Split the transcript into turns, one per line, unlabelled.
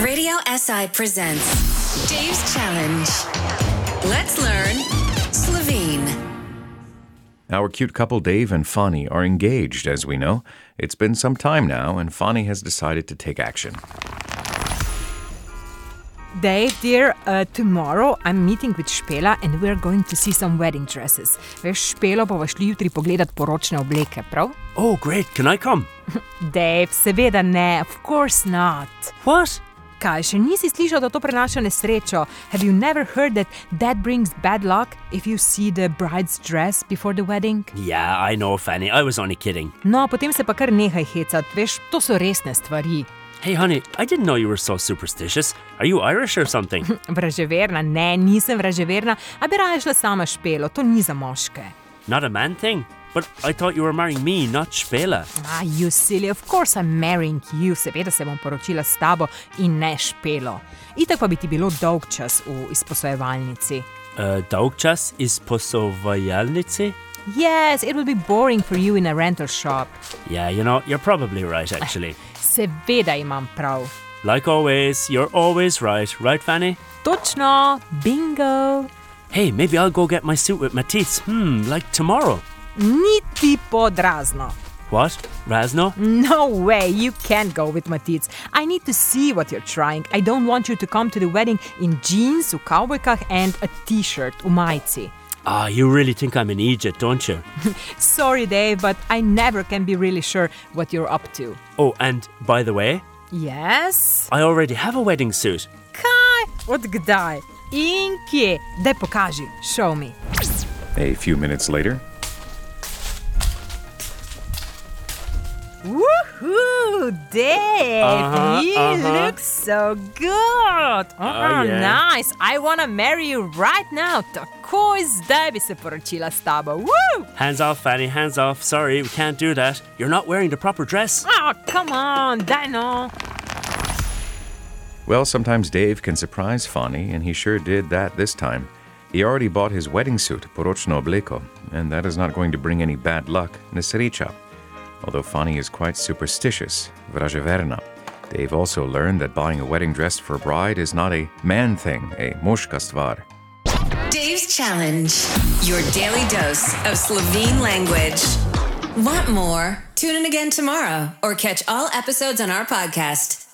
Radio SI presents Dave's Challenge. Let's learn Slovene.
Our cute couple Dave and Fani are engaged, as we know. It's been some time now, and Fani has decided to take action.
Dave, dear, uh, tomorrow I'm meeting with Špela and we're going to see some wedding dresses. Veš, Špelo bova šli jutri pogledat poročne obleke, prav?
Oh, great. Can I come?
Dave, seveda ne, of course not.
What?
Kaj, še nisi slišal, da to prenaša nesrečo? Have you never heard that that brings bad luck if you see the bride's dress before the wedding?
Yeah, I know, Fanny. I was only kidding.
No, potem se pa kar nehaj hecat, veš, to so resne stvari.
Hey, honey, I didn't know you were so superstitious. Are you Irish or something?
Vraževerna, ne, nisem vraževerna, a bi raje šla sama Špelo, to ni za moške.
not a man thing. But I thought you were marrying me, not Spela.
Ah, you silly, of course I'm marrying you, seveda se bom poročila s tabo in ne špelo. Itak pa bi ti bilo dolg čas v izposojevalnici.
Uh, dolgčas is posovajalnici?
Yes, it would be boring for you in a rental shop.
Yeah, you know, you're probably right, actually.
Seveda imam prav.
like always, you're always right, right, Fanny?
Točno, bingo!
Hey, maybe I'll go get my suit with Matisse. Hmm, like tomorrow.
Niti podrazno.
What? Razno?
No way, you can't go with Matic. I need to see what you're trying. I don't want you to come to the wedding in jeans, v kavbojkah and a t-shirt, v majici.
Ah, you really think I'm in Egypt, don't you?
Sorry, Dave, but I never can be really sure what you're up to.
Oh, and by the way,
Yes?
I already have a wedding suit.
Kaj? Od kdaj? In kje? Daj pokaži, show me.
A few minutes later,
Woohoo, Dave!
Uh-huh,
you
uh-huh.
look so good! Oh,
yeah.
nice! I wanna marry you right now! Takoj zdaj bi se poročila s tabo! Woo!
Hands off, Fanny, hands off. Sorry, we can't do that. You're not wearing the proper dress.
Oh, come on, daj no!
well, sometimes Dave can surprise Fani, and he sure did that this time. He already bought his wedding suit, Poročno Obleko, and that is not going to bring any bad luck, Nesericha. Although Fani is quite superstitious, Vrajaverna. Dave also learned that buying a wedding dress for a bride is not a man thing, a moshkastvar.
Dave's Challenge. Your daily dose of Slovene language. Want more? Tune in again tomorrow or catch all episodes on our podcast.